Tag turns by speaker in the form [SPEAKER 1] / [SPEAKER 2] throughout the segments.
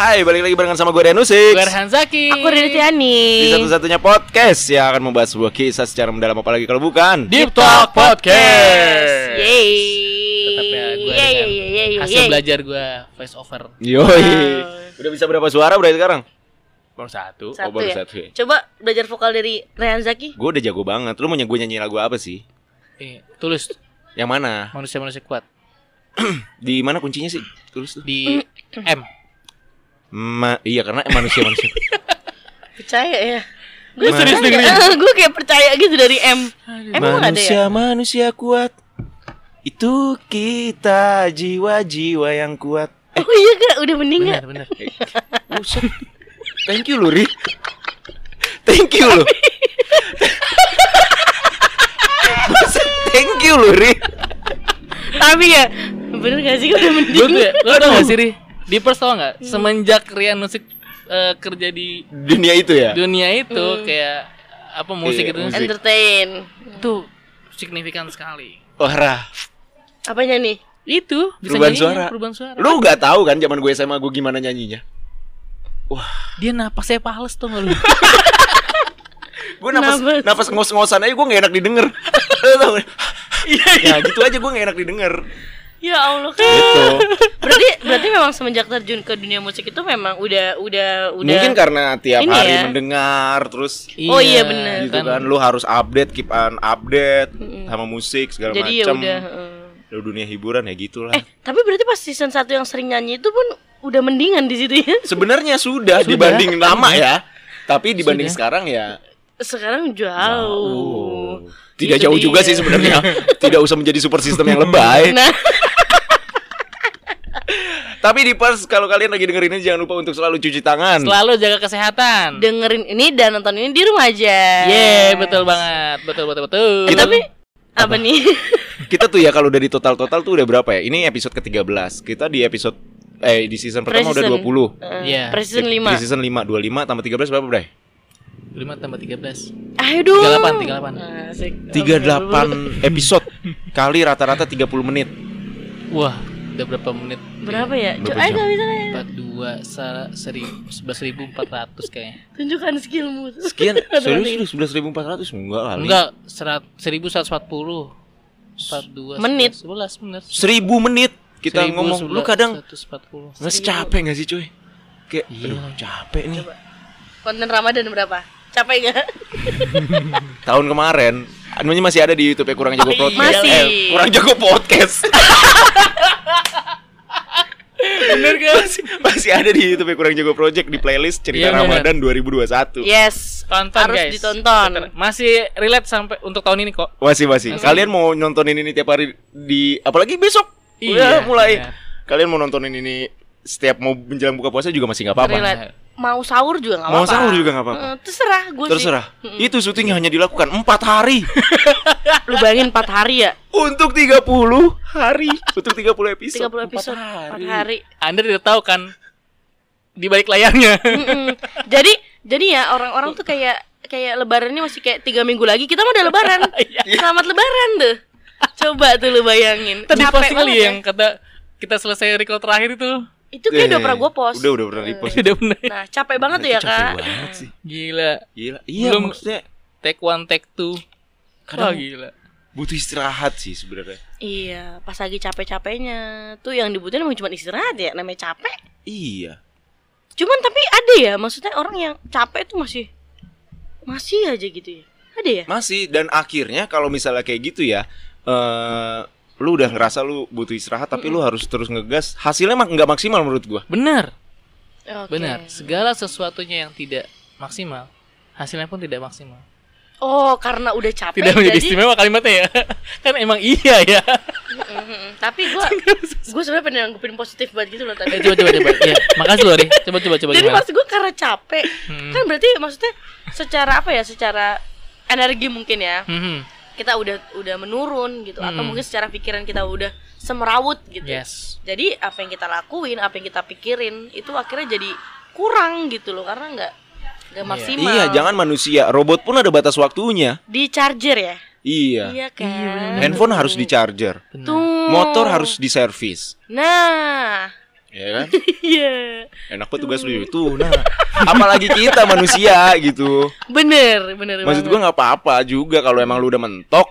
[SPEAKER 1] Hai, balik lagi barengan sama gue Danusik
[SPEAKER 2] Gue Rehan Zaki
[SPEAKER 3] Aku Riri Tiani
[SPEAKER 1] Di satu-satunya podcast yang akan membahas sebuah kisah secara mendalam apalagi kalau bukan
[SPEAKER 2] Deep Talk Podcast
[SPEAKER 3] Yeay
[SPEAKER 2] Tetap ya gue
[SPEAKER 3] Yeay,
[SPEAKER 2] dengan
[SPEAKER 3] yeay, yeay,
[SPEAKER 2] hasil
[SPEAKER 3] yeay.
[SPEAKER 2] belajar gue voice over
[SPEAKER 1] Yoi
[SPEAKER 3] Nah.
[SPEAKER 1] Udah bisa berapa suara berarti sekarang?
[SPEAKER 2] Baru satu
[SPEAKER 3] Satu
[SPEAKER 1] baru
[SPEAKER 3] ya
[SPEAKER 1] satu ya.
[SPEAKER 3] Coba belajar vokal dari Rehan Zaki
[SPEAKER 1] Gue udah jago banget Lu mau gue nyanyi lagu apa sih?
[SPEAKER 2] Ini, Tulis
[SPEAKER 1] Yang mana?
[SPEAKER 2] Eh, manusia-manusia kuat
[SPEAKER 1] Di mana kuncinya sih? Terus tuh
[SPEAKER 2] Di M
[SPEAKER 1] Ma- Iya karena manusia-manusia
[SPEAKER 3] Percaya ya
[SPEAKER 2] Lu serius
[SPEAKER 3] percaya. Gue kayak percaya gitu dari M Emang ada ya?
[SPEAKER 1] Manusia-manusia kuat Itu kita jiwa-jiwa yang kuat
[SPEAKER 3] Oh iya kak, udah mending gak?
[SPEAKER 2] Bener bener
[SPEAKER 1] Buset. Thank you lu, Ri. Thank you lu. Buset, thank you lu, Ri.
[SPEAKER 3] Tapi ya Bener gak sih udah
[SPEAKER 2] Lu
[SPEAKER 3] mending
[SPEAKER 2] tuh ya, lu tau gak sih Ri? Di pers tau
[SPEAKER 3] Hmm.
[SPEAKER 2] gak? Semenjak Rian Musik eh, kerja di
[SPEAKER 1] Dunia itu ya?
[SPEAKER 2] dunia itu
[SPEAKER 3] Hmm.
[SPEAKER 2] Kayak apa musik
[SPEAKER 1] Iya,
[SPEAKER 2] itu
[SPEAKER 1] musik.
[SPEAKER 3] Entertain
[SPEAKER 2] Itu signifikan sekali
[SPEAKER 1] Wah,
[SPEAKER 3] Apanya nih?
[SPEAKER 2] Itu bisa
[SPEAKER 1] Perubahan
[SPEAKER 2] nyanyinya,
[SPEAKER 1] suara.
[SPEAKER 2] Perubahan suara
[SPEAKER 1] lu gak tahu kan zaman gue SMA gue gimana nyanyinya?
[SPEAKER 2] Dia napasnya pales tuh gak lu
[SPEAKER 1] Gue nafas
[SPEAKER 3] Kenapa?
[SPEAKER 1] nafas ngos-ngosan aja gue gak enak didengar. Lu tahu nggak?
[SPEAKER 3] Iya,
[SPEAKER 1] ya gitu aja gue gak enak didengar.
[SPEAKER 3] Ya Allah
[SPEAKER 2] kan.
[SPEAKER 3] Kak.
[SPEAKER 1] Gitu.
[SPEAKER 3] Berarti berarti memang semenjak terjun ke dunia musik itu memang udah udah udah
[SPEAKER 1] Mungkin karena tiap
[SPEAKER 3] Ini
[SPEAKER 1] hari
[SPEAKER 3] ya.
[SPEAKER 1] mendengar terus
[SPEAKER 3] Oh iya, bener.
[SPEAKER 1] gitu kan lu harus update keep on update sama musik segala
[SPEAKER 3] Jadi ya
[SPEAKER 1] macam.
[SPEAKER 3] udah heeh.
[SPEAKER 1] Lu dunia hiburan ya gitulah.
[SPEAKER 3] Eh, tapi berarti pas season 1 yang sering nyanyi itu pun udah mendingan di situ ya.
[SPEAKER 1] Sebenarnya sudah, dibanding lama ya. Tapi dibanding sekarang ya
[SPEAKER 3] Sekarang jauh.
[SPEAKER 1] tidak
[SPEAKER 3] Itu
[SPEAKER 1] jauh juga
[SPEAKER 3] dia.
[SPEAKER 1] sih sebenarnya. Tidak usah menjadi super system yang lebay.
[SPEAKER 3] Nah,
[SPEAKER 1] Tapi di pers kalau kalian lagi dengerin ini jangan lupa untuk selalu cuci tangan.
[SPEAKER 2] Selalu jaga kesehatan
[SPEAKER 3] dengerin ini dan nonton ini di rumah
[SPEAKER 2] Yeay,
[SPEAKER 3] aja.
[SPEAKER 2] Iya,
[SPEAKER 1] Iya,
[SPEAKER 2] betul banget. Betul, betul, betul.
[SPEAKER 3] Eh, tapi apa, nih?
[SPEAKER 1] Kita tuh ya kalau dari total-total tuh udah berapa ya? Ini episode ke-13. Kita di episode eh di season pertama udah
[SPEAKER 3] Pre-season.
[SPEAKER 1] 20.
[SPEAKER 3] Eh,
[SPEAKER 2] Iya.
[SPEAKER 3] Precision
[SPEAKER 1] Di-
[SPEAKER 3] 5.
[SPEAKER 1] Di season 5 25 tambah 13 berapa, Bray?
[SPEAKER 2] 5 tambah 13.
[SPEAKER 3] Ayo dong.
[SPEAKER 2] 38, 38.
[SPEAKER 3] Asik.
[SPEAKER 1] 38 episode kali rata-rata 30 menit.
[SPEAKER 2] Wah, udah berapa menit?
[SPEAKER 3] Berapa ya? Cuk,
[SPEAKER 1] Berapa
[SPEAKER 3] ayo
[SPEAKER 1] jam?
[SPEAKER 3] kalau bisa ayo.
[SPEAKER 2] 42 sa- seri- 11.400 kayaknya.
[SPEAKER 3] tunjukkan skillmu.
[SPEAKER 1] Sekian
[SPEAKER 3] Teman-teman.
[SPEAKER 1] serius lu 11.400 enggak kali.
[SPEAKER 2] Enggak, serat- 1140. 42
[SPEAKER 3] Menit.
[SPEAKER 2] 11 menit.
[SPEAKER 1] 1000 menit kita ngomong. Lu kadang
[SPEAKER 2] 140.
[SPEAKER 1] Nggak sih capek nggak sih cuy? Kayak
[SPEAKER 2] Iya.
[SPEAKER 1] aduh, capek nih.
[SPEAKER 3] Konten Ramadan berapa? Capek gak?
[SPEAKER 1] Tahun kemarin namanya masih ada di YouTube ya kurang jago
[SPEAKER 2] Oh, iya.
[SPEAKER 1] podcast.
[SPEAKER 3] Masih.
[SPEAKER 1] kurang jago podcast.
[SPEAKER 2] Bener guys.
[SPEAKER 1] masih ada di YouTube ya kurang jago project di playlist cerita
[SPEAKER 2] Iya, benar.
[SPEAKER 1] Ramadan 2021.
[SPEAKER 3] Yes.
[SPEAKER 2] Tonton
[SPEAKER 3] Harus
[SPEAKER 2] guys.
[SPEAKER 3] ditonton.
[SPEAKER 2] Masih relate sampai untuk tahun ini kok.
[SPEAKER 1] Masih masih. Kalian mau nontonin ini tiap hari di apalagi besok? Udah
[SPEAKER 2] Iya,
[SPEAKER 1] mulai.
[SPEAKER 2] benar.
[SPEAKER 1] Kalian mau nontonin ini setiap mau menjelang buka puasa juga masih nggak apa-apa.
[SPEAKER 3] Relate. Mau sahur juga gak apa-apa.
[SPEAKER 1] Mau sahur juga nggak apa-apa.
[SPEAKER 3] Eh, terserah gue sih.
[SPEAKER 1] Terserah. Itu syuting hanya dilakukan 4 hari
[SPEAKER 3] Lu bayangin 4 hari ya?
[SPEAKER 1] untuk 30 hari, untuk 30 episode.
[SPEAKER 3] 30 episode 4 hari.
[SPEAKER 2] Anda tidak tahu kan di balik layarnya.
[SPEAKER 3] Mm-mm. Jadi jadi ya orang-orang tuh kayak kayak lebaran ini masih kayak tiga minggu lagi kita mau udah lebaran.
[SPEAKER 2] Iya.
[SPEAKER 3] Selamat lebaran tuh. Coba tuh lu bayangin.
[SPEAKER 2] Tadi
[SPEAKER 3] Capek
[SPEAKER 2] posting kali
[SPEAKER 3] banget
[SPEAKER 2] ya
[SPEAKER 3] ya.
[SPEAKER 2] yang kata kita selesai record terakhir itu
[SPEAKER 3] Itu
[SPEAKER 1] Eh,
[SPEAKER 3] kayak udah pernah gue post.
[SPEAKER 1] Udah udah pernah di post.
[SPEAKER 2] udah bener
[SPEAKER 3] Nah, capek banget tuh ya,
[SPEAKER 1] Itu capek
[SPEAKER 3] Kak.
[SPEAKER 1] banget sih.
[SPEAKER 2] gila
[SPEAKER 1] Gila. Iya
[SPEAKER 2] Belum-
[SPEAKER 1] maksudnya
[SPEAKER 2] take one take two
[SPEAKER 1] Kadang-
[SPEAKER 2] Wah, gila
[SPEAKER 1] butuh istirahat sih sebenarnya.
[SPEAKER 3] Iya, pas lagi capek-capeknya tuh yang dibutuhin emang cuma istirahat ya, namanya capek.
[SPEAKER 1] Iya.
[SPEAKER 3] Cuman tapi ada ya, maksudnya orang yang capek tuh masih masih aja gitu ya. Ada ya?
[SPEAKER 1] Masih dan akhirnya kalau misalnya kayak gitu ya, eh lu udah ngerasa lu butuh istirahat tapi lu harus terus ngegas. Hasilnya mah nggak maksimal menurut gua.
[SPEAKER 2] benar
[SPEAKER 3] Oke.
[SPEAKER 2] benar segala sesuatunya yang tidak maksimal hasilnya pun tidak maksimal
[SPEAKER 3] Oh, karena udah capek
[SPEAKER 2] tidak menjadi
[SPEAKER 3] jadi
[SPEAKER 2] istimewa kalimatnya ya kan emang iya ya
[SPEAKER 3] Mm-mm. tapi gue gue sebenarnya pengen nanggepin positif banget gitu loh
[SPEAKER 2] Eh,
[SPEAKER 3] tadi
[SPEAKER 2] coba coba coba ya makasih loh deh coba coba coba
[SPEAKER 3] jadi
[SPEAKER 2] gimana
[SPEAKER 3] maksud gue karena capek
[SPEAKER 2] Hmm.
[SPEAKER 3] kan berarti maksudnya secara apa ya secara energi mungkin ya
[SPEAKER 2] Mhm.
[SPEAKER 3] kita udah udah menurun gitu atau
[SPEAKER 2] Hmm.
[SPEAKER 3] mungkin secara pikiran kita udah semerawut gitu
[SPEAKER 2] yes
[SPEAKER 3] jadi apa yang kita lakuin apa yang kita pikirin itu akhirnya jadi kurang gitu loh karena nggak nggak maksimal
[SPEAKER 1] Iya, jangan manusia, robot pun ada batas waktunya.
[SPEAKER 3] di charger ya
[SPEAKER 1] Iya.
[SPEAKER 3] iya kan
[SPEAKER 1] Handphone harus di charger.
[SPEAKER 3] tuh
[SPEAKER 1] Motor harus di servis.
[SPEAKER 3] nah
[SPEAKER 1] ya kan
[SPEAKER 3] Iya.
[SPEAKER 1] enak banget tugas lu tuh nah apalagi kita manusia gitu
[SPEAKER 3] Bener, bener
[SPEAKER 1] maksud
[SPEAKER 3] banget.
[SPEAKER 1] gua nggak apa-apa juga kalau emang lu udah mentok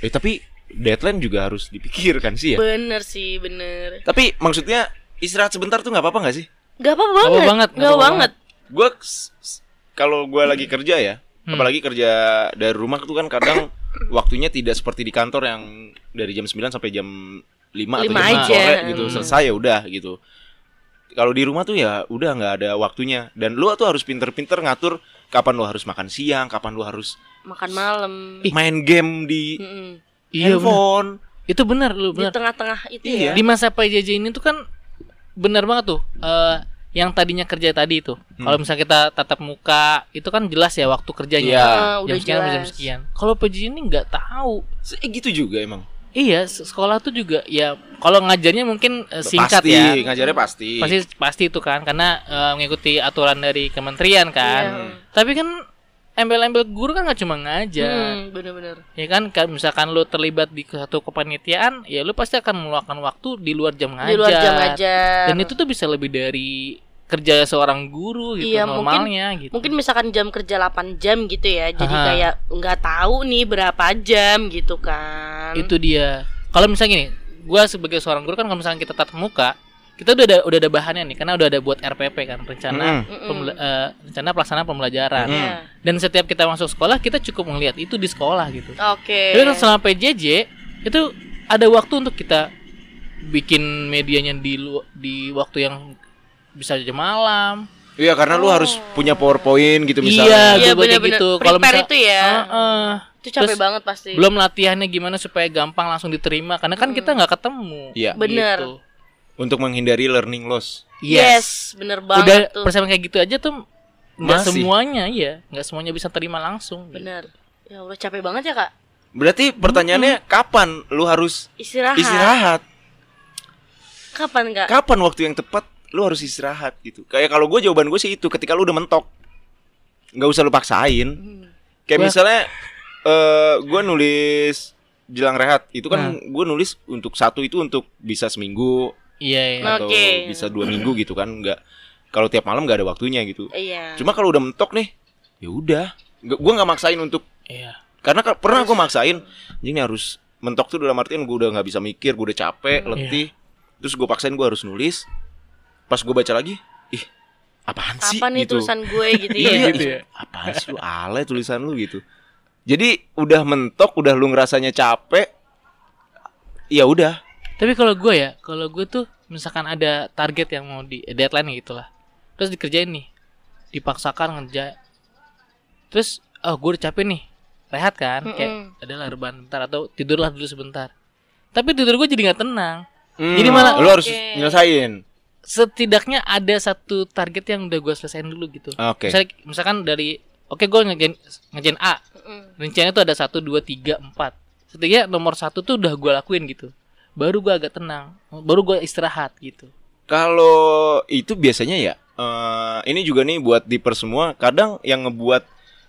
[SPEAKER 1] eh tapi deadline juga harus dipikirkan
[SPEAKER 2] Iya.
[SPEAKER 1] sih ya
[SPEAKER 3] Bener sih, bener.
[SPEAKER 1] tapi maksudnya istirahat sebentar tuh nggak apa-apa nggak sih
[SPEAKER 3] Gak apa-apa
[SPEAKER 2] Gak apa
[SPEAKER 3] banget.
[SPEAKER 2] banget, gak
[SPEAKER 3] Gak
[SPEAKER 2] apa
[SPEAKER 3] banget.
[SPEAKER 1] gue kalau gue lagi kerja ya
[SPEAKER 2] Hmm.
[SPEAKER 1] apalagi kerja dari rumah tuh kan kadang waktunya tidak seperti di kantor yang dari jam 9 sampai jam 5 atau
[SPEAKER 3] Lima
[SPEAKER 1] jam enam
[SPEAKER 3] aja.
[SPEAKER 1] sore gitu
[SPEAKER 2] Hmm.
[SPEAKER 1] selesai ya udah gitu kalau di rumah tuh ya udah nggak ada waktunya dan lu tuh harus pinter-pinter ngatur kapan lu harus makan siang kapan lu harus
[SPEAKER 3] Makan malam.
[SPEAKER 1] main game di
[SPEAKER 3] Mm-mm.
[SPEAKER 2] Iya benar.
[SPEAKER 1] handphone
[SPEAKER 2] Itu benar lu
[SPEAKER 3] Di
[SPEAKER 2] benar.
[SPEAKER 3] tengah-tengah itu
[SPEAKER 1] Iya.
[SPEAKER 3] ya.
[SPEAKER 2] Di masa PJJ ini tuh kan benar banget tuh. eh, yang tadinya kerja tadi itu. Kalau misalnya kita tatap muka, itu kan jelas ya waktu
[SPEAKER 1] Iya.
[SPEAKER 2] kerjanya.
[SPEAKER 3] Ah,
[SPEAKER 2] jam
[SPEAKER 3] udah
[SPEAKER 2] sekian sampai jam
[SPEAKER 3] jelas.
[SPEAKER 2] sekian. Kalau PJJ ini nggak tahu.
[SPEAKER 1] Se- eh, gitu juga emang
[SPEAKER 2] Iya, se- sekolah tuh juga ya kalau ngajarnya mungkin eh, singkat
[SPEAKER 1] pasti,
[SPEAKER 2] ya.
[SPEAKER 1] ngajarnya pasti
[SPEAKER 2] pasti pasti itu kan karena eh, mengikuti aturan dari kementerian kan
[SPEAKER 3] Iya.
[SPEAKER 2] tapi kan embel-embel guru kan nggak cuma ngajar
[SPEAKER 3] Hmm, bener-bener.
[SPEAKER 2] ya kan Kayak misalkan lu terlibat di satu kepanitiaan ya lu pasti akan meluangkan waktu di luar jam ngajar
[SPEAKER 3] Di luar jam ngajar.
[SPEAKER 2] dan itu tuh bisa lebih dari kerja seorang guru gitu
[SPEAKER 3] Iya, mungkin-
[SPEAKER 2] normalnya gitu
[SPEAKER 3] Mungkin misalkan jam kerja 8 jam gitu ya. Jadi
[SPEAKER 2] Aha.
[SPEAKER 3] kayak nggak tahu nih berapa jam gitu kan.
[SPEAKER 2] itu dia kalau misalnya gini gua sebagai seorang guru kan kalau misalkan kita tatap muka kita udah ada udah ada bahannya nih karena udah ada buat RPP kan
[SPEAKER 1] Hmm.
[SPEAKER 2] rencana
[SPEAKER 3] Mm-mm.
[SPEAKER 2] pemela- eh, rencana pelaksanaan pembelajaran
[SPEAKER 1] Mm.
[SPEAKER 3] Iya.
[SPEAKER 2] dan setiap kita masuk sekolah kita cukup melihat itu di sekolah gitu.
[SPEAKER 3] Oke.
[SPEAKER 2] Tapi kan selama PJJ itu ada waktu untuk kita bikin medianya di lu- di waktu yang bisa jam malam.
[SPEAKER 1] iya karena lu harus punya powerpoint gitu misalnya
[SPEAKER 2] Iya,
[SPEAKER 3] Iya,
[SPEAKER 2] gue kayak
[SPEAKER 3] bener-bener.
[SPEAKER 2] gitu.
[SPEAKER 3] Prepare itu ya. Iya.
[SPEAKER 2] Heeh.
[SPEAKER 3] Itu capek
[SPEAKER 2] Terus
[SPEAKER 3] banget pasti.
[SPEAKER 2] belum latihannya gimana supaya gampang langsung diterima karena kan kita nggak ketemu.
[SPEAKER 1] Iya.
[SPEAKER 3] Hmm. Bener.
[SPEAKER 2] Gitu.
[SPEAKER 1] untuk menghindari learning loss
[SPEAKER 3] Yes,
[SPEAKER 2] Yes.
[SPEAKER 3] bener
[SPEAKER 2] Udah
[SPEAKER 3] banget tuh.
[SPEAKER 2] persamaan kayak gitu aja tuh nggak
[SPEAKER 1] Masih.
[SPEAKER 2] semuanya iya, nggak semuanya bisa terima langsung. gitu.
[SPEAKER 3] Bener. Ya Allah capek banget ya kak.
[SPEAKER 1] Berarti pertanyaannya kapan lu harus
[SPEAKER 3] Istirahat.
[SPEAKER 1] istirahat?
[SPEAKER 3] Kapan kak?
[SPEAKER 1] Kapan waktu yang tepat lu harus istirahat gitu? Kayak kalau gue jawaban gue sih itu ketika lu udah mentok, nggak usah lu paksain.
[SPEAKER 3] Hmm.
[SPEAKER 1] Kayak
[SPEAKER 2] Gua-
[SPEAKER 1] misalnya eh gue nulis jelang rehat itu kan gue nulis untuk satu itu untuk bisa seminggu
[SPEAKER 2] Iya, iya.
[SPEAKER 3] Nah,
[SPEAKER 1] atau
[SPEAKER 3] Oke.
[SPEAKER 1] bisa dua minggu gitu kan nggak kalau tiap malam nggak ada waktunya gitu.
[SPEAKER 3] Iya.
[SPEAKER 1] Cuma kalau udah mentok nih, ya udah. Gue nggak maksain untuk
[SPEAKER 2] Iya.
[SPEAKER 1] karena ka- pernah gue maksain anjing ini harus mentok tuh dalam artian gue udah nggak bisa mikir gue udah capek letih terus gue paksain gue harus nulis pas gue baca lagi ih apaan sih
[SPEAKER 3] Apa nih
[SPEAKER 1] gitu
[SPEAKER 3] tulisan gue gitu
[SPEAKER 1] iya,
[SPEAKER 3] ya?
[SPEAKER 1] iya,
[SPEAKER 2] gitu
[SPEAKER 1] ih,
[SPEAKER 2] ya.
[SPEAKER 1] apaan sih lu alay tulisan lu gitu jadi udah mentok udah lu ngerasanya capek ya udah
[SPEAKER 2] Tapi kalau gue ya, kalau gue tuh misalkan ada target yang mau di eh, deadline gitu lah. Terus dikerjain nih. Dipaksakan ngerja. Terus oh gue udah capek nih. Rehat kan? Kayak adalah rebahan bentar atau tidurlah dulu sebentar. Tapi tidur gue jadi nggak tenang. Jadi
[SPEAKER 1] Hmm,
[SPEAKER 2] malah-
[SPEAKER 1] lu harus
[SPEAKER 3] Oke.
[SPEAKER 1] nyelesain
[SPEAKER 2] Setidaknya ada satu target yang udah gue selesaiin dulu gitu.
[SPEAKER 1] oke
[SPEAKER 2] Misalnya, misalkan dari oke gue ngerjain ngerjain A.
[SPEAKER 3] Mm-mm.
[SPEAKER 2] Rencananya tuh ada satu dua tiga empat. Setidaknya nomor satu tuh udah gue lakuin gitu. Baru gue agak tenang. Baru gue istirahat gitu.
[SPEAKER 1] Kalau itu biasanya ya, eh, ini juga nih buat diper semua. Kadang yang ngebuat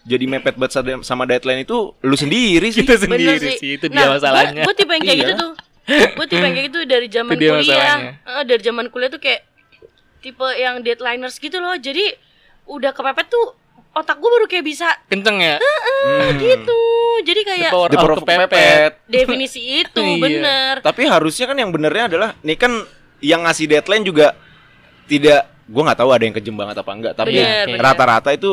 [SPEAKER 1] jadi mepet banget sada- sama deadline itu lu sendiri sih.
[SPEAKER 2] kita
[SPEAKER 3] Bener
[SPEAKER 2] sendiri sih. itu dia
[SPEAKER 3] Nah,
[SPEAKER 2] masalahnya
[SPEAKER 3] Gue tipe yang kayak
[SPEAKER 1] Iya.
[SPEAKER 3] gitu tuh. Gue tipe yang kayak gitu dari zaman
[SPEAKER 2] Itu dia
[SPEAKER 3] kuliah.
[SPEAKER 2] masalahnya.
[SPEAKER 3] Eh, dari zaman kuliah tuh kayak tipe yang deadliners gitu loh. Jadi udah kepepet tuh otak gue baru kayak bisa
[SPEAKER 2] kenceng ya
[SPEAKER 1] Hmm.
[SPEAKER 3] gitu. Jadi kayak
[SPEAKER 2] power
[SPEAKER 1] The power of kepepet.
[SPEAKER 3] definisi itu
[SPEAKER 2] Iya.
[SPEAKER 3] bener.
[SPEAKER 1] Tapi harusnya kan yang benernya adalah nih kan yang ngasih deadline juga tidak gua nggak tahu ada yang kejem banget apa enggak, tapi
[SPEAKER 3] Bener,
[SPEAKER 2] Oke.
[SPEAKER 3] bener.
[SPEAKER 1] rata-rata itu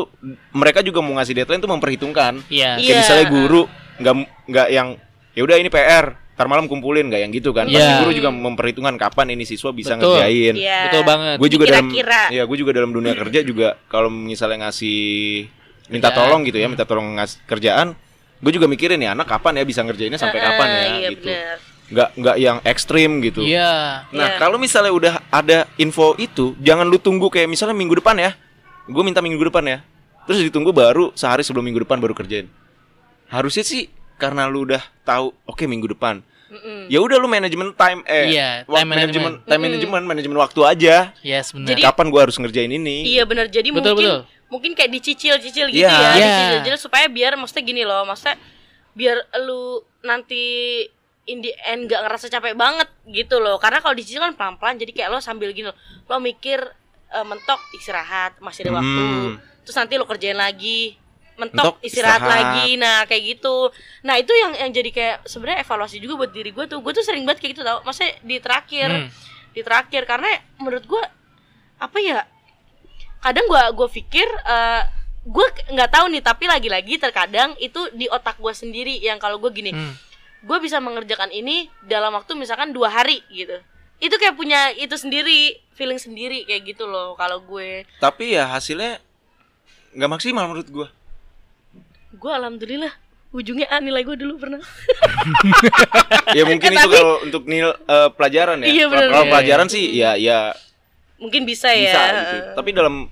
[SPEAKER 1] mereka juga mau ngasih deadline tuh memperhitungkan.
[SPEAKER 2] iya
[SPEAKER 1] Kayak
[SPEAKER 3] Iya.
[SPEAKER 1] misalnya guru nggak nggak yang ya udah ini PR, ntar malam kumpulin nggak yang gitu kan. Pasti
[SPEAKER 2] Iya.
[SPEAKER 1] guru juga memperhitungkan kapan ini siswa bisa
[SPEAKER 2] Betul.
[SPEAKER 1] ngerjain.
[SPEAKER 3] Iya.
[SPEAKER 2] betul banget
[SPEAKER 1] gue juga dalam
[SPEAKER 3] Dikira-kira.
[SPEAKER 1] ya gue juga dalam dunia kerja juga kalau misalnya ngasih minta
[SPEAKER 2] Kerjaan.
[SPEAKER 1] tolong gitu ya minta tolong ngas kerjaan gue juga mikirin ya anak kapan ya bisa ngerjainnya sampai
[SPEAKER 3] Eh,
[SPEAKER 1] kapan ya
[SPEAKER 3] iya,
[SPEAKER 1] gitu
[SPEAKER 3] bener.
[SPEAKER 1] nggak nggak yang ekstrim gitu
[SPEAKER 2] iya
[SPEAKER 1] nah
[SPEAKER 3] Iya.
[SPEAKER 1] kalau misalnya udah ada info itu jangan lu tunggu kayak misalnya minggu depan ya gue minta minggu depan ya terus ditunggu baru sehari sebelum minggu depan baru kerjain harusnya sih karena lu udah tahu oke minggu depan
[SPEAKER 3] Mm-mm.
[SPEAKER 1] ya udah lu manajemen time eh
[SPEAKER 2] Iya,
[SPEAKER 1] wa-
[SPEAKER 2] time management.
[SPEAKER 1] manajemen time management manajemen waktu aja
[SPEAKER 2] yes benar
[SPEAKER 3] Jadi-
[SPEAKER 1] Nah, kapan gue harus ngerjain ini
[SPEAKER 3] Iya benar. Jadi
[SPEAKER 2] Betul,
[SPEAKER 3] mungkin
[SPEAKER 2] betul.
[SPEAKER 3] mungkin kayak dicicil-cicil gitu
[SPEAKER 1] Iya.
[SPEAKER 3] ya,
[SPEAKER 2] Iya.
[SPEAKER 3] dicicil-cicil supaya biar maksudnya gini loh, maksudnya biar lu nanti in the end gak ngerasa capek banget gitu loh karena kalau di sini kan pelan pelan jadi kayak lo sambil gini loh, lo mikir eh, mentok istirahat masih ada waktu
[SPEAKER 1] Hmm.
[SPEAKER 3] terus nanti lo kerjain lagi
[SPEAKER 1] Mentok,
[SPEAKER 3] mentok istirahat,
[SPEAKER 1] istirahat.
[SPEAKER 3] lagi nah kayak gitu nah itu yang yang jadi kayak sebenarnya evaluasi juga buat diri gue tuh gue tuh sering banget kayak gitu tau maksudnya di terakhir
[SPEAKER 2] Hmm.
[SPEAKER 3] di terakhir karena menurut gue apa ya kadang gue gue pikir gue nggak tahu nih tapi lagi-lagi terkadang itu di otak gue sendiri yang kalau gue gini
[SPEAKER 2] Hmm.
[SPEAKER 3] gue bisa mengerjakan ini dalam waktu misalkan dua hari gitu itu kayak punya itu sendiri feeling sendiri kayak gitu loh kalau gue
[SPEAKER 1] Tapi ya hasilnya nggak maksimal menurut gua.
[SPEAKER 3] gue alhamdulillah ujungnya A nilai gue dulu pernah
[SPEAKER 1] Ya mungkin
[SPEAKER 3] Eh,
[SPEAKER 1] itu
[SPEAKER 3] tapi-
[SPEAKER 1] kalau untuk nil eh, pelajaran ya.
[SPEAKER 3] Iya, benar.
[SPEAKER 1] Kalau
[SPEAKER 2] Iya,
[SPEAKER 1] pelajaran sih ya ya
[SPEAKER 3] mungkin bisa ya
[SPEAKER 1] bisa gitu. Tapi dalam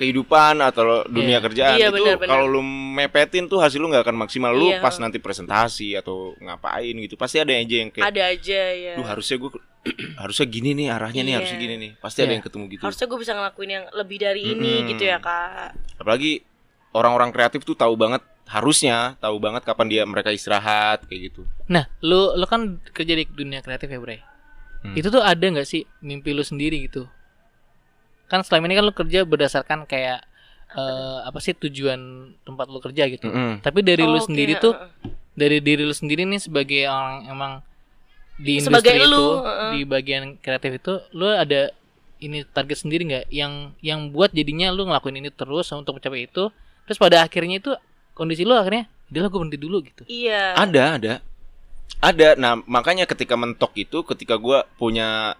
[SPEAKER 1] kehidupan atau dunia
[SPEAKER 2] Iya.
[SPEAKER 1] kerjaan
[SPEAKER 3] Iya,
[SPEAKER 1] itu
[SPEAKER 3] benar-benar.
[SPEAKER 1] kalau lu mepetin tuh hasil lu nggak akan maksimal lu
[SPEAKER 3] Iya.
[SPEAKER 1] pas nanti presentasi atau ngapain gitu pasti ada aja yang kayak
[SPEAKER 3] ada aja ya
[SPEAKER 1] duh harusnya gue harusnya gini nih arahnya nih
[SPEAKER 3] Iya.
[SPEAKER 1] harusnya gini nih pasti ada
[SPEAKER 2] Iya.
[SPEAKER 1] yang ketemu gitu
[SPEAKER 3] harusnya gue bisa ngelakuin yang lebih dari ini
[SPEAKER 2] Hmm.
[SPEAKER 1] Mm-mm.
[SPEAKER 3] gitu ya kak
[SPEAKER 1] apalagi orang-orang kreatif tuh tahu banget harusnya tahu banget kapan dia mereka istirahat kayak gitu
[SPEAKER 2] Nah, lu lu kan kerja di dunia kreatif ya, Bray.
[SPEAKER 1] Hmm.
[SPEAKER 2] Itu tuh ada nggak sih mimpi lu sendiri gitu? Kan selama ini kan lu kerja berdasarkan kayak eh, apa sih tujuan tempat lu kerja gitu.
[SPEAKER 1] Mm-mm.
[SPEAKER 2] Tapi dari lu
[SPEAKER 3] Oh, oke,
[SPEAKER 2] sendiri
[SPEAKER 3] ha,
[SPEAKER 2] tuh,
[SPEAKER 3] ha.
[SPEAKER 2] dari diri lu sendiri nih sebagai orang emang di industri
[SPEAKER 3] Sebagai
[SPEAKER 2] itu,
[SPEAKER 3] lu, heeh.
[SPEAKER 2] di bagian kreatif itu, lu ada ini target sendiri nggak yang yang buat jadinya lu ngelakuin ini terus untuk mencapai itu, terus pada akhirnya itu kondisi lu akhirnya, udah gue berhenti dulu gitu.
[SPEAKER 3] iya
[SPEAKER 1] ada ada ada nah makanya ketika mentok itu ketika gua punya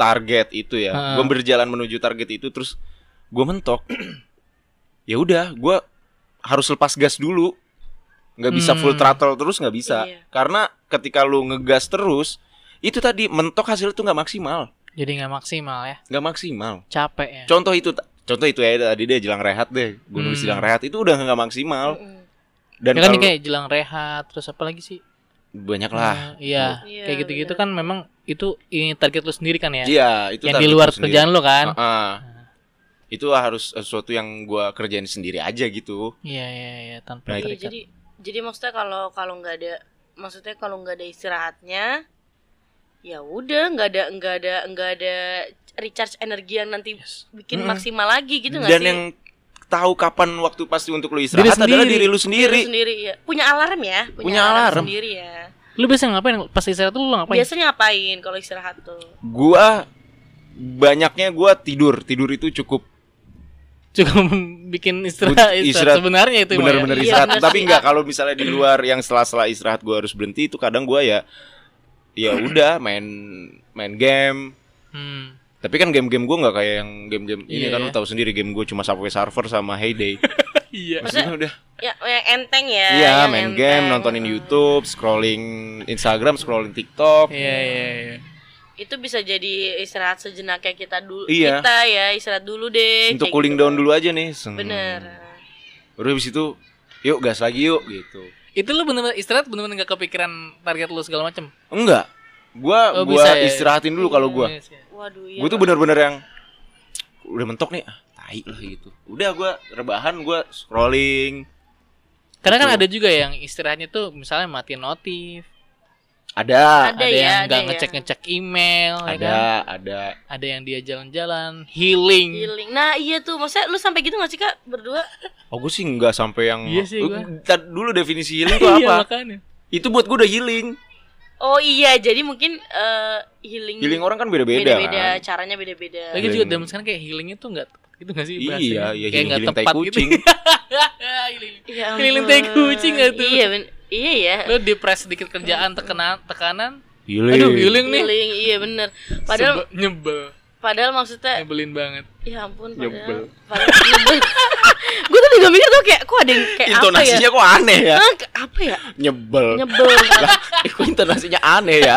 [SPEAKER 1] target itu ya
[SPEAKER 2] Hmm.
[SPEAKER 1] gua berjalan menuju target itu terus gua mentok ya udah gua harus lepas gas dulu nggak bisa full
[SPEAKER 2] Hmm.
[SPEAKER 1] throttle terus nggak bisa
[SPEAKER 3] Iya.
[SPEAKER 1] karena ketika lu ngegas terus itu tadi mentok hasil tuh nggak maksimal
[SPEAKER 2] Jadi nggak maksimal ya,
[SPEAKER 1] nggak maksimal
[SPEAKER 2] capek ya.
[SPEAKER 1] contoh itu contoh itu ya tadi deh jelang rehat deh gue nulis
[SPEAKER 2] Hmm.
[SPEAKER 1] jelang rehat itu udah nggak maksimal
[SPEAKER 3] Mm-mm.
[SPEAKER 1] dan
[SPEAKER 2] ya kan
[SPEAKER 1] kalau-
[SPEAKER 2] nih kayak jelang rehat terus apa lagi sih
[SPEAKER 1] banyak lah
[SPEAKER 2] Eh, iya
[SPEAKER 3] Iya,
[SPEAKER 2] kayak gitu-gitu
[SPEAKER 3] benar.
[SPEAKER 2] kan memang itu ini target lu sendiri kan ya
[SPEAKER 1] iya itu
[SPEAKER 2] yang di
[SPEAKER 1] target
[SPEAKER 2] luar
[SPEAKER 1] gua sendiri. Ah.
[SPEAKER 2] kerjaan lu kan
[SPEAKER 1] Heeh. itu harus sesuatu yang gue kerjain sendiri aja gitu
[SPEAKER 2] iya iya iya
[SPEAKER 1] Nah, itu-
[SPEAKER 2] tanpa
[SPEAKER 3] Iya,
[SPEAKER 2] terikat
[SPEAKER 3] jadi jadi maksudnya kalau kalau nggak ada maksudnya kalau nggak ada istirahatnya ya udah nggak ada nggak ada nggak ada recharge energi yang nanti
[SPEAKER 2] Yes.
[SPEAKER 3] bikin
[SPEAKER 1] Mm-mm.
[SPEAKER 3] maksimal lagi gitu nggak
[SPEAKER 1] dan
[SPEAKER 3] sih?
[SPEAKER 1] yang tahu kapan waktu pasti untuk lu istirahat adalah
[SPEAKER 2] sendiri.
[SPEAKER 1] diri lu
[SPEAKER 3] Diri lu
[SPEAKER 1] sendiri
[SPEAKER 3] sendiri ya. Punya alarm ya, punya,
[SPEAKER 1] Punya
[SPEAKER 3] alarm,
[SPEAKER 1] alarm. ya?
[SPEAKER 3] sendiri ya.
[SPEAKER 2] lu biasa ngapain pas istirahat tuh lu ngapain
[SPEAKER 3] Biasanya ngapain kalau istirahat tuh?
[SPEAKER 1] gue banyaknya gue tidur tidur itu cukup
[SPEAKER 2] juga bikin
[SPEAKER 1] But-
[SPEAKER 2] istirahat,
[SPEAKER 1] istirahat.
[SPEAKER 2] istirahat. sebenarnya itu ya. Maya.
[SPEAKER 1] bener-bener
[SPEAKER 3] Iya,
[SPEAKER 1] istirahat
[SPEAKER 3] bener
[SPEAKER 1] tapi
[SPEAKER 3] sih.
[SPEAKER 1] nggak kalau misalnya di luar yang setelah-setelah istirahat gue harus berhenti itu kadang gue ya ya udah main main game
[SPEAKER 2] hmm.
[SPEAKER 1] Tapi kan game-game gue nggak kayak yang game-game ini
[SPEAKER 2] Iya.
[SPEAKER 1] kan lu tahu sendiri game gue cuma Subway Surfer sama Heyday.
[SPEAKER 2] iya
[SPEAKER 1] Maksudnya udah.
[SPEAKER 3] Ya yang enteng ya.
[SPEAKER 1] Iya,
[SPEAKER 3] yang
[SPEAKER 1] main
[SPEAKER 3] enteng.
[SPEAKER 1] game, nontonin YouTube, scrolling Instagram, scrolling TikTok.
[SPEAKER 2] iya iya iya
[SPEAKER 3] Itu bisa jadi istirahat sejenaknya kita dulu
[SPEAKER 1] Iya.
[SPEAKER 3] kita ya, istirahat dulu deh.
[SPEAKER 1] Untuk
[SPEAKER 3] kayak
[SPEAKER 1] cooling
[SPEAKER 3] gitu.
[SPEAKER 1] down dulu aja nih. Seng.
[SPEAKER 3] Bener.
[SPEAKER 1] Udah habis itu yuk gas lagi yuk gitu.
[SPEAKER 2] itu lu bener-bener istirahat bener-bener gak kepikiran target lu segala macem
[SPEAKER 1] Enggak. Gua
[SPEAKER 2] Oh,
[SPEAKER 1] gua
[SPEAKER 2] bisa ya.
[SPEAKER 1] istirahatin dulu kalau gua.
[SPEAKER 2] Yes, yes.
[SPEAKER 3] Waduh, iya.
[SPEAKER 1] Gua tuh bener-bener yang udah mentok nih, ah, tai lah gitu. Udah gua rebahan, gua scrolling.
[SPEAKER 2] karena kan
[SPEAKER 1] Betul.
[SPEAKER 2] ada juga yang istirahatnya tuh misalnya matiin notif
[SPEAKER 1] Ada,
[SPEAKER 2] ada,
[SPEAKER 3] Ada ya,
[SPEAKER 2] yang
[SPEAKER 3] ada
[SPEAKER 2] nggak
[SPEAKER 3] ya.
[SPEAKER 2] ngecek ngecek email ya
[SPEAKER 1] ada,
[SPEAKER 2] kan?
[SPEAKER 1] ada.
[SPEAKER 2] ada yang dia jalan-jalan healing
[SPEAKER 3] Healing. Nah iya tuh, maksudnya lu sampai gitu gak sih kak berdua?
[SPEAKER 1] Oh, gue sih nggak sampai yang
[SPEAKER 2] Iya sih, gua.
[SPEAKER 1] Ntar dulu definisi healing itu apa?
[SPEAKER 2] Iya, makanya.
[SPEAKER 1] itu buat gue udah healing
[SPEAKER 3] Oh iya, jadi mungkin eh, healing
[SPEAKER 1] healing orang kan beda beda
[SPEAKER 3] beda-beda,
[SPEAKER 1] kan
[SPEAKER 3] caranya beda-beda.
[SPEAKER 2] lagi
[SPEAKER 1] Healing.
[SPEAKER 2] juga zaman sekarang kayak healing itu nggak tepat gitu nggak sih
[SPEAKER 1] iya
[SPEAKER 2] bahasanya?
[SPEAKER 1] iya
[SPEAKER 2] kayak
[SPEAKER 1] healing
[SPEAKER 2] nggak
[SPEAKER 1] healing tai
[SPEAKER 2] tepat gitu
[SPEAKER 1] kucing
[SPEAKER 2] Healing.
[SPEAKER 3] Ya
[SPEAKER 2] Healing
[SPEAKER 3] ampun.
[SPEAKER 2] tai kucing nggak tuh?
[SPEAKER 3] Iya ben- iya ya.
[SPEAKER 2] lo depres sedikit kerjaan tekanan tekanan
[SPEAKER 1] healing
[SPEAKER 2] aduh healing nih
[SPEAKER 3] Healing, iya bener. Padahal
[SPEAKER 2] Sebe- nyebel
[SPEAKER 3] padahal maksudnya,
[SPEAKER 2] nyebelin banget
[SPEAKER 3] ya ampun
[SPEAKER 1] Nyebel.
[SPEAKER 3] padahal. padahal gue tuh juga mikir tuh kayak, kok ada yang kayak apa ya?
[SPEAKER 1] intonasinya kok aneh ya
[SPEAKER 3] Hah, ke- apa ya?
[SPEAKER 1] nyebel
[SPEAKER 3] Nyebel,
[SPEAKER 1] lah eh, kok intonasinya aneh ya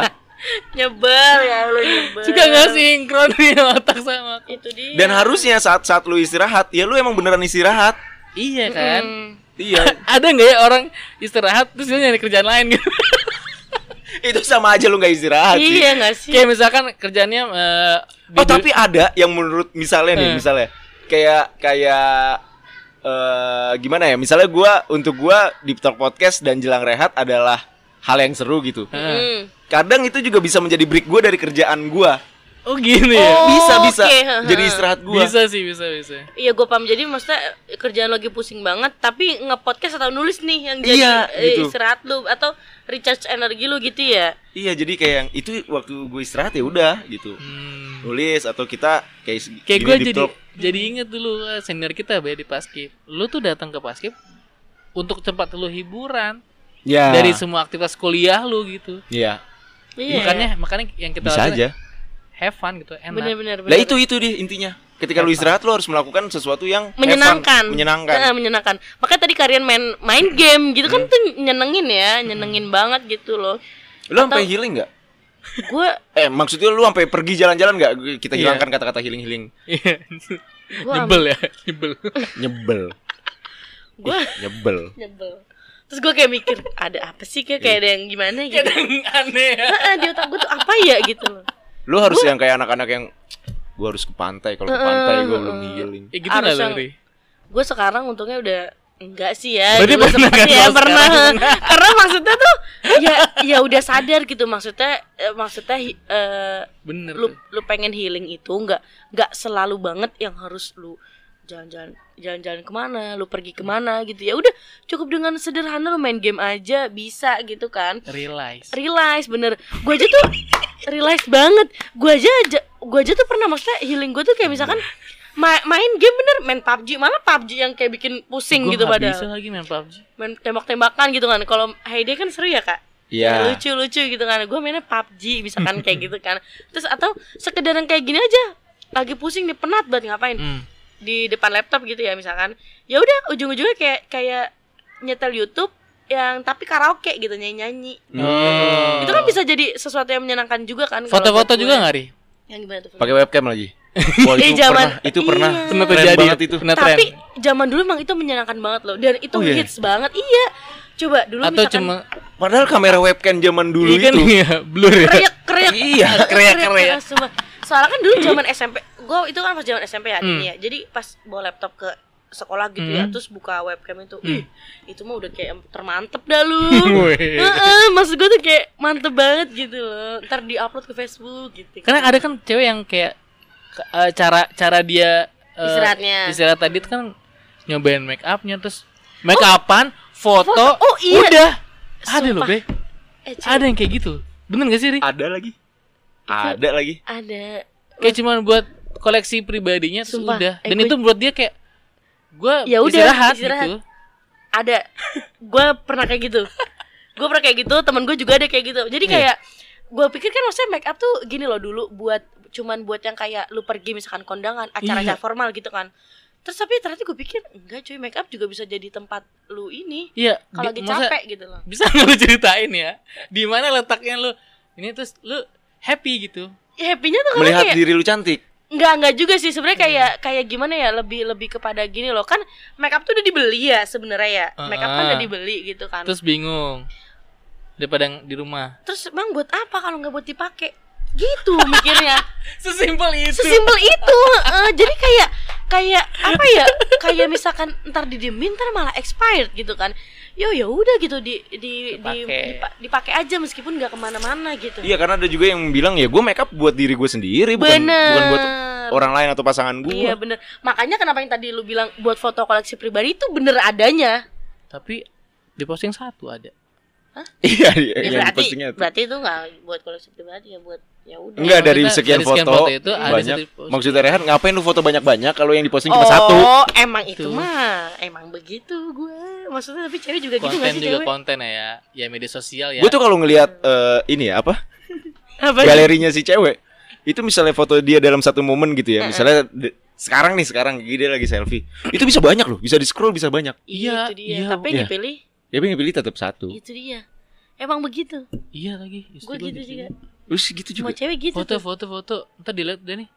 [SPEAKER 3] nyebel ya lu nyebel.
[SPEAKER 2] suka nggak sinkron nih otak sama
[SPEAKER 3] Itu dia.
[SPEAKER 1] dan harusnya saat saat lu istirahat ya lu emang beneran istirahat
[SPEAKER 2] iya kan
[SPEAKER 3] Hmm.
[SPEAKER 1] iya
[SPEAKER 2] ada nggak ya orang istirahat terus dia nyari kerjaan lain gitu
[SPEAKER 1] itu sama aja lu nggak istirahat sih
[SPEAKER 3] Iya nggak sih?
[SPEAKER 2] kayak misalkan kerjaannya eh, di-
[SPEAKER 1] oh tapi ada yang menurut misalnya nih
[SPEAKER 2] Eh.
[SPEAKER 1] misalnya kayak kayak eh gimana ya misalnya gua untuk gua di Talk podcast dan jelang rehat adalah hal yang seru gitu.
[SPEAKER 2] Heeh.
[SPEAKER 3] Hmm.
[SPEAKER 1] Kadang itu juga bisa menjadi break gue dari kerjaan gue.
[SPEAKER 2] Oh gini ya.
[SPEAKER 3] Oh,
[SPEAKER 1] Bisa bisa.
[SPEAKER 3] oke, ha, ha.
[SPEAKER 1] Jadi istirahat gue.
[SPEAKER 2] Bisa sih, bisa bisa.
[SPEAKER 3] Iya gue paham jadi maksudnya eh, kerjaan lagi pusing banget tapi nge-podcast atau nulis nih yang jadi
[SPEAKER 1] Iya,
[SPEAKER 3] eh,
[SPEAKER 1] gitu.
[SPEAKER 3] istirahat lu atau recharge energi lu gitu ya.
[SPEAKER 1] Iya jadi kayak yang itu waktu gue istirahat ya udah gitu.
[SPEAKER 2] Hmm.
[SPEAKER 1] Nulis atau kita kayak se-
[SPEAKER 2] Kayak
[SPEAKER 1] gini
[SPEAKER 2] gue
[SPEAKER 1] di
[SPEAKER 2] jadi
[SPEAKER 1] talk.
[SPEAKER 2] jadi inget dulu eh, senior kita Bay di Paskib. Lu tuh datang ke Paskib untuk tempat lu hiburan
[SPEAKER 1] ya.
[SPEAKER 2] dari semua aktivitas kuliah lu gitu.
[SPEAKER 1] Iya.
[SPEAKER 3] Iya.
[SPEAKER 2] Makanya makanya yang kita
[SPEAKER 1] Bisa
[SPEAKER 2] lakuin,
[SPEAKER 1] aja.
[SPEAKER 2] have fun gitu, enak.
[SPEAKER 3] benar-benar
[SPEAKER 1] Lah itu itu dia intinya. Ketika lu istirahat lu harus melakukan sesuatu yang have fun,
[SPEAKER 3] menyenangkan.
[SPEAKER 1] menyenangkan. Hmm.
[SPEAKER 3] Eh, menyenangkan. Makanya tadi kalian main main game gitu kan tuh nyenengin ya, nyenengin banget gitu loh.
[SPEAKER 1] Lu sampai healing nggak?
[SPEAKER 3] Gue
[SPEAKER 1] Eh maksudnya lu sampai pergi jalan-jalan nggak? Kita hilangkan kata-kata healing-healing.
[SPEAKER 2] Iya.
[SPEAKER 3] Gua-
[SPEAKER 2] Nyebel ya, nyebel.
[SPEAKER 1] Nyebel,
[SPEAKER 3] gue
[SPEAKER 1] nyebel.
[SPEAKER 3] nyebel. Terus gue kayak mikir ada apa sih kayak
[SPEAKER 1] Iya.
[SPEAKER 3] kayak ada yang gimana gitu.
[SPEAKER 2] Aneh ya.
[SPEAKER 3] Heeh, di otak gue tuh apa ya gitu loh.
[SPEAKER 1] Lu harus yang kayak anak-anak yang gua harus ke pantai kalau ke pantai gua belum healing.
[SPEAKER 2] Eh, gitu nggak
[SPEAKER 3] Harus
[SPEAKER 2] lu,
[SPEAKER 3] yang-
[SPEAKER 2] Ri?
[SPEAKER 3] gue sekarang untungnya udah enggak sih ya
[SPEAKER 2] Berarti
[SPEAKER 3] Dulu
[SPEAKER 2] pernah
[SPEAKER 3] sempet
[SPEAKER 2] kan
[SPEAKER 3] ya
[SPEAKER 2] kalau
[SPEAKER 3] pernah
[SPEAKER 2] sekarang?
[SPEAKER 3] karena maksudnya tuh ya ya udah sadar gitu maksudnya eh, maksudnya hi- eh,
[SPEAKER 2] Bener.
[SPEAKER 3] lu
[SPEAKER 2] tuh.
[SPEAKER 3] lu pengen healing itu nggak nggak selalu banget yang harus lu jalan-jalan jalan-jalan kemana lu pergi kemana gitu ya udah cukup dengan sederhana lu main game aja bisa gitu kan
[SPEAKER 2] Realize.
[SPEAKER 3] realize bener gue aja tuh realize banget gue aja aja- gua aja tuh pernah maksudnya healing gue tuh kayak misalkan ma- main game bener main PUBG malah PUBG yang kayak bikin pusing
[SPEAKER 2] Gua
[SPEAKER 3] gitu
[SPEAKER 2] nggak bisa
[SPEAKER 3] padahal
[SPEAKER 2] lagi main PUBG.
[SPEAKER 3] main tembak-tembakan gitu kan kalau Heyday kan seru ya kak
[SPEAKER 1] Iya.
[SPEAKER 3] lucu-lucu gitu kan gue mainnya PUBG misalkan kayak gitu kan terus atau sekedar yang kayak gini aja lagi pusing nih penat banget ngapain
[SPEAKER 2] Hmm.
[SPEAKER 3] di depan laptop gitu ya misalkan ya udah ujung-ujungnya kayak kayak nyetel YouTube yang tapi karaoke gitu nyanyi-nyanyi
[SPEAKER 1] Hmm.
[SPEAKER 2] Oh.
[SPEAKER 3] itu kan bisa jadi sesuatu yang menyenangkan juga kan kalau
[SPEAKER 2] Foto-foto
[SPEAKER 3] buat gue.
[SPEAKER 2] juga nggak, Ri?
[SPEAKER 3] yang gimana tuh
[SPEAKER 1] Pakai webcam lagi. Wah,
[SPEAKER 3] Eh,
[SPEAKER 1] itu
[SPEAKER 3] zaman-
[SPEAKER 1] pernah, itu pernah.
[SPEAKER 3] Iya.
[SPEAKER 2] Pernah
[SPEAKER 1] Keren
[SPEAKER 2] terjadi.
[SPEAKER 1] banget itu.
[SPEAKER 2] Pernah tren.
[SPEAKER 3] tapi zaman dulu emang itu menyenangkan banget loh dan itu
[SPEAKER 1] Oh, iya?
[SPEAKER 3] hits banget iya coba dulu
[SPEAKER 2] Atau
[SPEAKER 3] misalkan
[SPEAKER 2] cuma
[SPEAKER 1] Padahal kamera webcam zaman dulu
[SPEAKER 2] Iya kan
[SPEAKER 1] itu.
[SPEAKER 2] iya, blur ya.
[SPEAKER 3] kreak kreak
[SPEAKER 1] Iya.
[SPEAKER 2] Kreak, kreak.
[SPEAKER 3] kreak semua. soalnya kan dulu zaman SMP gue itu kan pas zaman SMP ya ini
[SPEAKER 2] Hmm.
[SPEAKER 3] ya jadi pas bawa laptop ke sekolah gitu ya terus buka webcam itu
[SPEAKER 2] Hmm.
[SPEAKER 3] ih itu mah udah kayak termantep dah lu
[SPEAKER 2] Wih.
[SPEAKER 3] Heeh, maksud gue tuh kayak mantep banget gitu loh ntar diupload ke Facebook gitu
[SPEAKER 2] Karena ada kan cewek yang kayak ke- eh, cara cara dia eh,
[SPEAKER 3] Istirahatnya.
[SPEAKER 2] Istirahat tadi itu kan nyobain make upnya terus make upan, foto,
[SPEAKER 3] Oh. foto. Oh, iya.
[SPEAKER 2] udah. Ada loh,
[SPEAKER 3] Sumpah.
[SPEAKER 2] Be.
[SPEAKER 3] Eh, cuy,
[SPEAKER 2] Ada yang kayak gitu. Bener gak sih, Ri?
[SPEAKER 1] Ada lagi.
[SPEAKER 3] Iya.
[SPEAKER 1] Ada lagi.
[SPEAKER 3] ada
[SPEAKER 2] Kayak cuma buat koleksi pribadinya terus
[SPEAKER 3] Sumpah.
[SPEAKER 2] udah.
[SPEAKER 3] Eh,
[SPEAKER 2] Dan
[SPEAKER 3] gue-
[SPEAKER 2] itu buat dia kayak gua
[SPEAKER 3] Ya udah,
[SPEAKER 2] istirahat,
[SPEAKER 3] istirahat.
[SPEAKER 2] gitu.
[SPEAKER 3] ada gue pernah kayak gitu gue pernah kayak gitu temen gue juga ada kayak gitu
[SPEAKER 2] Iya.
[SPEAKER 3] jadi kayak gue pikir kan maksudnya make up tuh gini loh dulu buat cuman buat yang kayak lu pergi misalkan kondangan
[SPEAKER 2] Iya.
[SPEAKER 3] acara-acara formal gitu kan terus tapi ternyata gue pikir enggak cuy make up juga bisa jadi tempat lu ini
[SPEAKER 2] Iya,
[SPEAKER 3] kalau
[SPEAKER 2] di-
[SPEAKER 3] lagi
[SPEAKER 2] masa-
[SPEAKER 3] capek gitu loh
[SPEAKER 2] bisa nggak lu ceritain ya di mana letaknya lu ini terus lu happy gitu
[SPEAKER 3] ya happy-nya tuh karena
[SPEAKER 1] Melihat
[SPEAKER 3] kayak
[SPEAKER 1] diri lu cantik.
[SPEAKER 3] enggak enggak juga sih sebenarnya
[SPEAKER 2] Hmm.
[SPEAKER 3] kayak kayak gimana ya lebih lebih kepada gini loh kan make up tuh udah dibeli ya sebenarnya ya make up kan
[SPEAKER 2] Ah.
[SPEAKER 3] udah dibeli gitu kan terus,
[SPEAKER 2] terus bingung daripada ng- di rumah
[SPEAKER 3] emang buat apa kalau nggak buat dipakai gitu mikirnya
[SPEAKER 2] sesimpel itu
[SPEAKER 3] sesimpel itu heeh. jadi kayak kayak apa ya kayak misalkan ntar didiemin ntar malah expired gitu kan yo ya udah gitu di di, di
[SPEAKER 2] Dipakai.
[SPEAKER 3] dipa- dipakai aja meskipun nggak kemana-mana gitu
[SPEAKER 1] Iya karena ada juga yang bilang ya gue make up buat diri gue sendiri bukan
[SPEAKER 3] Bener.
[SPEAKER 1] bukan buat orang lain atau pasangan gue.
[SPEAKER 3] Iya bener Makanya kenapa yang tadi lu bilang Buat foto koleksi pribadi itu bener adanya
[SPEAKER 2] tapi di posting satu ada
[SPEAKER 1] Iya, iya,
[SPEAKER 3] Ya,
[SPEAKER 1] yang
[SPEAKER 3] berarti,
[SPEAKER 1] dipostingnya tuh.
[SPEAKER 3] berarti itu nggak buat koleksi pribadi ya buat ya udah
[SPEAKER 1] Enggak dari
[SPEAKER 2] Maksudnya,
[SPEAKER 1] sekian,
[SPEAKER 2] Iya, dari sekian
[SPEAKER 1] foto,
[SPEAKER 2] foto itu ada
[SPEAKER 1] banyak.
[SPEAKER 2] satu posting.
[SPEAKER 1] Maksudnya Rehan ngapain lu foto banyak-banyak kalau yang diposting
[SPEAKER 3] Oh
[SPEAKER 1] cuma satu?
[SPEAKER 3] emang itu
[SPEAKER 2] Tuh.
[SPEAKER 3] mah Emang begitu gue Maksudnya tapi cewek juga gitu
[SPEAKER 2] konten
[SPEAKER 3] nggak sih
[SPEAKER 2] juga
[SPEAKER 3] cewek
[SPEAKER 2] konten ya ya media sosial ya
[SPEAKER 1] Gue tuh kalau ngelihat eh, ini ya apa
[SPEAKER 3] Apa sih?
[SPEAKER 1] galerinya si cewek itu misalnya foto dia dalam satu momen gitu ya misalnya de- sekarang nih sekarang gini dia lagi selfie itu bisa banyak loh bisa di scroll bisa banyak
[SPEAKER 2] Iya,
[SPEAKER 3] Iya itu dia
[SPEAKER 2] iya,
[SPEAKER 3] Tapi yang
[SPEAKER 1] iya.
[SPEAKER 3] dipilih
[SPEAKER 1] ya pengen pilih tetap
[SPEAKER 2] Gitu.
[SPEAKER 1] satu
[SPEAKER 3] Itu dia Emang begitu
[SPEAKER 2] iya lagi istri
[SPEAKER 3] Gue
[SPEAKER 2] gua
[SPEAKER 3] gitu juga
[SPEAKER 1] terus gitu
[SPEAKER 3] Semua
[SPEAKER 1] juga
[SPEAKER 3] cewek gitu
[SPEAKER 2] foto
[SPEAKER 3] tuh.
[SPEAKER 2] foto foto ntar dilihat deh nih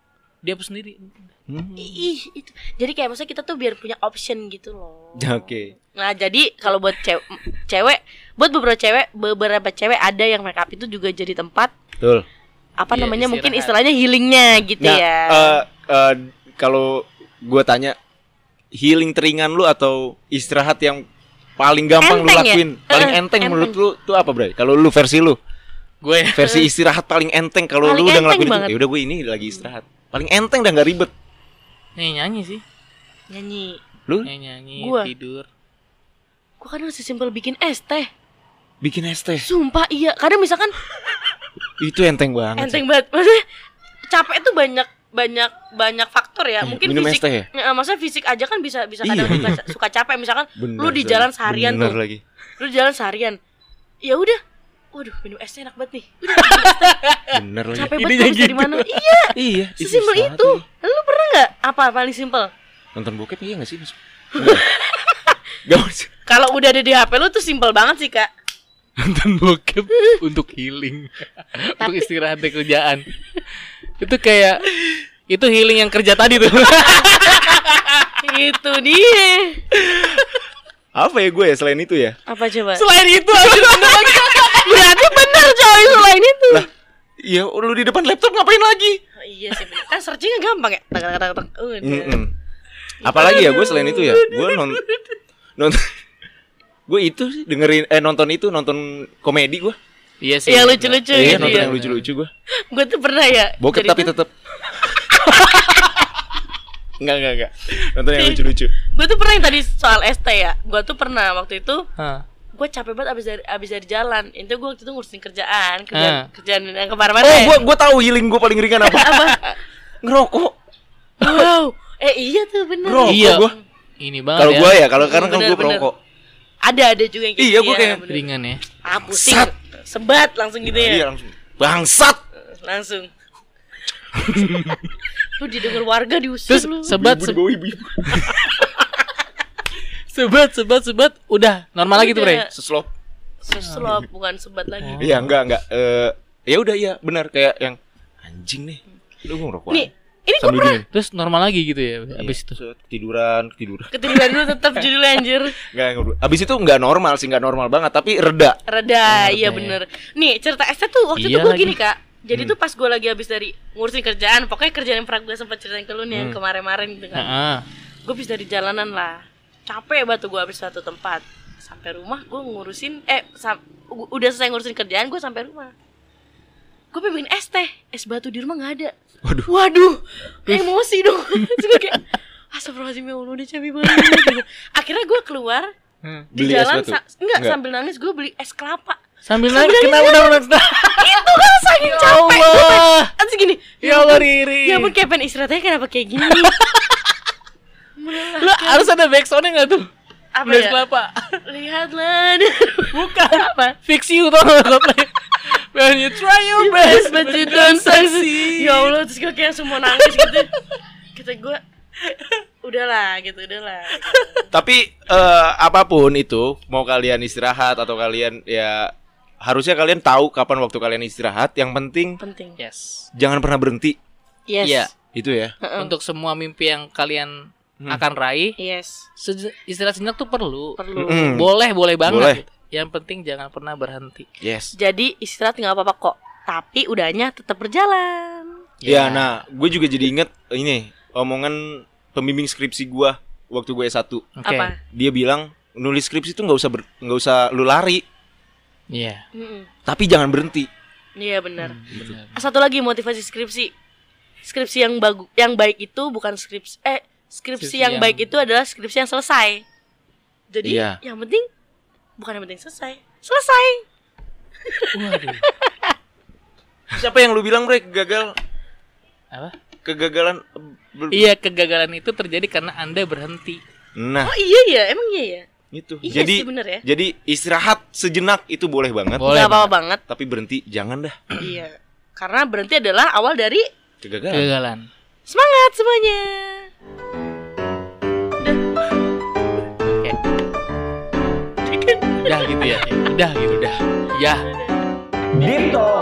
[SPEAKER 2] dia hapus sendiri
[SPEAKER 1] Hmm.
[SPEAKER 3] Ih, itu. Jadi kayak maksudnya kita tuh biar punya option gitu loh.
[SPEAKER 1] oke
[SPEAKER 3] Nah, jadi kalau buat cewek, cewek buat beberapa cewek, beberapa cewek ada yang make up itu juga jadi tempat
[SPEAKER 1] betul
[SPEAKER 3] apa
[SPEAKER 2] Iya,
[SPEAKER 3] namanya mungkin
[SPEAKER 2] istirahat.
[SPEAKER 3] istilahnya healingnya gitu
[SPEAKER 1] nah
[SPEAKER 3] ya.
[SPEAKER 1] eh, eh, kalau gue tanya healing teringan lu atau istirahat yang paling gampang lu
[SPEAKER 3] Enteng ya?
[SPEAKER 1] lakuin, paling
[SPEAKER 3] Eh,
[SPEAKER 1] enteng,
[SPEAKER 3] enteng.
[SPEAKER 1] menurut lu tuh apa, Bray? Kalau lu versi lu,
[SPEAKER 2] gue
[SPEAKER 1] versi istirahat paling enteng kalau
[SPEAKER 3] Eh.
[SPEAKER 1] lu
[SPEAKER 3] Paling
[SPEAKER 1] udah
[SPEAKER 3] enteng
[SPEAKER 1] ngelakuin itu.
[SPEAKER 3] banget.
[SPEAKER 1] Ya udah gue ini lagi istirahat. Paling enteng dan gak ribet.
[SPEAKER 2] nyanyi nyanyi sih
[SPEAKER 3] Nyanyi.
[SPEAKER 1] Lu
[SPEAKER 2] nyanyi nyanyi
[SPEAKER 3] Gua.
[SPEAKER 2] tidur
[SPEAKER 3] Gua kadang sesimpel bikin es teh.
[SPEAKER 1] bikin es teh.
[SPEAKER 3] Sumpah iya. Kadang misalkan
[SPEAKER 1] Itu enteng banget.
[SPEAKER 3] enteng banget. Maksudnya capek tuh banyak banyak banyak faktor ya.
[SPEAKER 1] Iya,
[SPEAKER 3] Mungkin
[SPEAKER 1] minum es
[SPEAKER 3] fisik.
[SPEAKER 1] teh ya?
[SPEAKER 3] Ya, maksudnya fisik aja kan bisa bisa kadang
[SPEAKER 1] Iya.
[SPEAKER 3] juga suka capek misalkan
[SPEAKER 1] sih. Bener,
[SPEAKER 3] lu di
[SPEAKER 1] Bray.
[SPEAKER 3] jalan seharian
[SPEAKER 1] Bener
[SPEAKER 3] tuh.
[SPEAKER 1] lagi.
[SPEAKER 3] Lu di jalan seharian. Ya udah. Waduh, minum esnya enak banget nih.
[SPEAKER 1] Iya,
[SPEAKER 3] Udah,
[SPEAKER 1] Bener lagi.
[SPEAKER 3] Eh, capek
[SPEAKER 2] Idenya
[SPEAKER 3] banget habis dari
[SPEAKER 2] gitu.
[SPEAKER 3] mana? Iya,
[SPEAKER 1] Iya, itu
[SPEAKER 3] sesimpel
[SPEAKER 1] istirahat
[SPEAKER 3] itu.
[SPEAKER 1] lagi.
[SPEAKER 3] Lu pernah nggak apa paling simpel?
[SPEAKER 1] Nonton bokep iya gak sih? Mas? Enggak. Gak maksud-
[SPEAKER 3] Kalau udah ada di HP lu tuh simpel banget sih, Kak.
[SPEAKER 2] nonton bokep untuk healing untuk istirahat dari kerjaan itu kayak itu healing yang kerja tadi tuh
[SPEAKER 3] itu dia.
[SPEAKER 1] Apa ya gue ya selain itu ya?
[SPEAKER 3] Apa coba?
[SPEAKER 2] selain itu anjir, bener lagi.
[SPEAKER 3] Berarti bener coy selain itu.
[SPEAKER 1] Iya, lu di depan laptop ngapain lagi?
[SPEAKER 3] Oh, iya sih bener. Kan searchingnya gampang ya. Tak tak tak tak. Udah.
[SPEAKER 1] Mm-mm. Apalagi ya gue selain itu ya, gue non nonton gue itu sih dengerin eh nonton itu nonton komedi gue.
[SPEAKER 2] iya sih
[SPEAKER 3] Iya, lucu-lucu
[SPEAKER 1] Iya,
[SPEAKER 3] gitu
[SPEAKER 1] nonton
[SPEAKER 3] ya.
[SPEAKER 1] yang lucu-lucu gue.
[SPEAKER 3] Gue tuh pernah ya.
[SPEAKER 1] Bokep
[SPEAKER 3] jadi
[SPEAKER 1] tapi
[SPEAKER 3] tuh-
[SPEAKER 1] tetep Enggak, enggak, enggak. Nonton yang lucu-lucu.
[SPEAKER 3] Gue tuh pernah yang tadi soal ST ya. Gue tuh pernah waktu itu
[SPEAKER 2] Hah.
[SPEAKER 3] gue capek banget abis dari abis dari jalan. Itu gue waktu itu ngurusin kerjaan,
[SPEAKER 2] Ah.
[SPEAKER 3] kerjaan, kerjaan yang kemana-mana.
[SPEAKER 1] Oh,
[SPEAKER 3] ya.
[SPEAKER 1] gue gue tahu healing gue paling ringan apa? Ngerokok.
[SPEAKER 3] Wow. Eh iya tuh bener.
[SPEAKER 1] Ngerokok
[SPEAKER 2] Iya.
[SPEAKER 1] gue.
[SPEAKER 2] ini banget
[SPEAKER 1] Kalau
[SPEAKER 2] ya
[SPEAKER 1] gue ya, kalau karena kan
[SPEAKER 3] Bener,
[SPEAKER 1] gue
[SPEAKER 3] bener.
[SPEAKER 1] perokok.
[SPEAKER 3] Ada ada juga yang kayak
[SPEAKER 1] Iya,
[SPEAKER 3] gitu
[SPEAKER 1] gua
[SPEAKER 3] ya,
[SPEAKER 1] kayak-
[SPEAKER 3] bener.
[SPEAKER 2] ringan ya
[SPEAKER 3] Ah pusing.
[SPEAKER 1] Sat.
[SPEAKER 3] Sebat langsung gitu ya.
[SPEAKER 1] Iya, langsung. Bangsat.
[SPEAKER 3] Langsung. lu didengar warga diusir
[SPEAKER 2] terus
[SPEAKER 3] lu.
[SPEAKER 2] sebat se- sebat sebat sebat udah normal lagi tuh bre
[SPEAKER 3] Udah.
[SPEAKER 1] Seslop.
[SPEAKER 3] Seslop bukan sebat lagi.
[SPEAKER 1] Iya, enggak, enggak. Eh, ya udah iya, benar kayak yang anjing nih. Lu ngerokok.
[SPEAKER 3] Nih, ini gue
[SPEAKER 1] Oh. sambil gini.
[SPEAKER 2] terus normal lagi gitu ya abis
[SPEAKER 3] Iya.
[SPEAKER 2] itu
[SPEAKER 1] Set, ketiduran, ketiduran.
[SPEAKER 3] ketiduran dulu tetap judulnya anjir.
[SPEAKER 1] Enggak, enggak. Abis itu enggak normal sih, enggak normal banget, tapi reda.
[SPEAKER 3] Reda,
[SPEAKER 2] Bener
[SPEAKER 3] iya
[SPEAKER 2] deh.
[SPEAKER 3] bener. Nih, cerita Esta tuh waktu
[SPEAKER 2] Iya
[SPEAKER 3] itu gue
[SPEAKER 2] lagi.
[SPEAKER 3] gini, Kak. Jadi
[SPEAKER 1] Hmm.
[SPEAKER 3] tuh pas gue lagi habis dari ngurusin kerjaan, pokoknya kerjaan yang pernah gue sempat ceritain ke lu nih
[SPEAKER 1] Hmm.
[SPEAKER 3] yang kemarin-kemarin gitu kan.
[SPEAKER 2] Heeh.
[SPEAKER 3] Gue habis dari jalanan lah. Capek banget tuh gue habis satu tempat. Sampai rumah gue ngurusin eh sam- u- udah selesai ngurusin kerjaan gue sampai rumah. Gue pengen bikin es teh, es batu di rumah nggak ada. Waduh. Waduh. Emosi dong. Terus gue kayak Astagfirullahaladzim ya Allah udah capek banget gitu. Akhirnya gue keluar di
[SPEAKER 1] Beli es
[SPEAKER 3] jalan
[SPEAKER 1] batu?
[SPEAKER 3] sa- enggak,
[SPEAKER 1] Enggak.
[SPEAKER 3] sambil nangis gue beli es kelapa
[SPEAKER 2] sambil
[SPEAKER 3] Sambil
[SPEAKER 2] naik kenapa udah udah
[SPEAKER 3] itu kan saking
[SPEAKER 2] ya
[SPEAKER 3] capek gue pengen-
[SPEAKER 2] Allah
[SPEAKER 3] Terus gini
[SPEAKER 2] ya Allah
[SPEAKER 3] ampun,
[SPEAKER 2] Riri
[SPEAKER 3] ya ampun kayak pengen istirahatnya kenapa kayak gini
[SPEAKER 2] Lu harus ada backsoundnya nggak tuh?
[SPEAKER 3] apa
[SPEAKER 2] Blaze
[SPEAKER 3] ya
[SPEAKER 2] kelapa.
[SPEAKER 3] lihatlah
[SPEAKER 2] Bukan.
[SPEAKER 3] apa
[SPEAKER 2] Fix you tau nggak Coldplay? When you try your best
[SPEAKER 3] best but you don't succeed ya Allah terus gue kayak semua nangis gitu kata gue udahlah gitu udahlah
[SPEAKER 1] Tapi eh, apapun itu, mau kalian istirahat atau kalian ya harusnya kalian tahu kapan waktu kalian istirahat. Yang penting
[SPEAKER 3] penting
[SPEAKER 2] Yes.
[SPEAKER 1] jangan pernah berhenti.
[SPEAKER 3] yes Uh-uh.
[SPEAKER 2] Iya.
[SPEAKER 1] Itu ya.
[SPEAKER 2] Untuk semua mimpi yang kalian akan raih,
[SPEAKER 3] yes
[SPEAKER 2] se- istirahat sejenak tuh perlu.
[SPEAKER 3] perlu
[SPEAKER 1] Mm-mm.
[SPEAKER 2] Boleh, Hmm. boleh banget.
[SPEAKER 1] Boleh.
[SPEAKER 2] Yang penting jangan pernah berhenti.
[SPEAKER 1] Yes.
[SPEAKER 3] jadi istirahat nggak apa-apa kok tapi udahnya tetap berjalan
[SPEAKER 2] Iya,
[SPEAKER 1] Ya, nah, gue juga jadi inget ini omongan pembimbing skripsi gue waktu gue S1.
[SPEAKER 2] Oke.
[SPEAKER 3] apa
[SPEAKER 1] Dia bilang nulis skripsi itu nggak usah ber- nggak usah lu lari,
[SPEAKER 2] Iya.
[SPEAKER 3] Mm-mm.
[SPEAKER 1] tapi jangan berhenti.
[SPEAKER 3] iya benar
[SPEAKER 2] benar.
[SPEAKER 3] satu lagi motivasi skripsi skripsi yang bagus yang baik itu bukan skripsi eh skripsi,
[SPEAKER 2] Skripsi
[SPEAKER 3] yang,
[SPEAKER 2] yang-
[SPEAKER 3] baik itu adalah skripsi yang selesai jadi
[SPEAKER 1] Iya.
[SPEAKER 3] yang penting bukan yang penting selesai selesai
[SPEAKER 2] Waduh.
[SPEAKER 1] Siapa yang lu bilang bre gagal
[SPEAKER 2] Apa?
[SPEAKER 1] kegagalan? eh, ber-
[SPEAKER 2] Iya, kegagalan itu terjadi karena Anda berhenti.
[SPEAKER 1] Nah,
[SPEAKER 3] oh iya ya emang iya ya
[SPEAKER 1] itu.
[SPEAKER 3] iya
[SPEAKER 1] jadi
[SPEAKER 3] sih bener ya
[SPEAKER 1] jadi istirahat sejenak itu boleh banget,
[SPEAKER 2] Boleh.
[SPEAKER 3] nggak apa-apa banget
[SPEAKER 1] tapi berhenti jangan dah
[SPEAKER 3] iya karena berhenti adalah awal dari
[SPEAKER 2] Iya.
[SPEAKER 1] kegagalan.
[SPEAKER 2] Kegagalan.
[SPEAKER 3] semangat semuanya
[SPEAKER 2] Oke. Udah gitu ya. Udah gitu udah. Ya.
[SPEAKER 4] Dito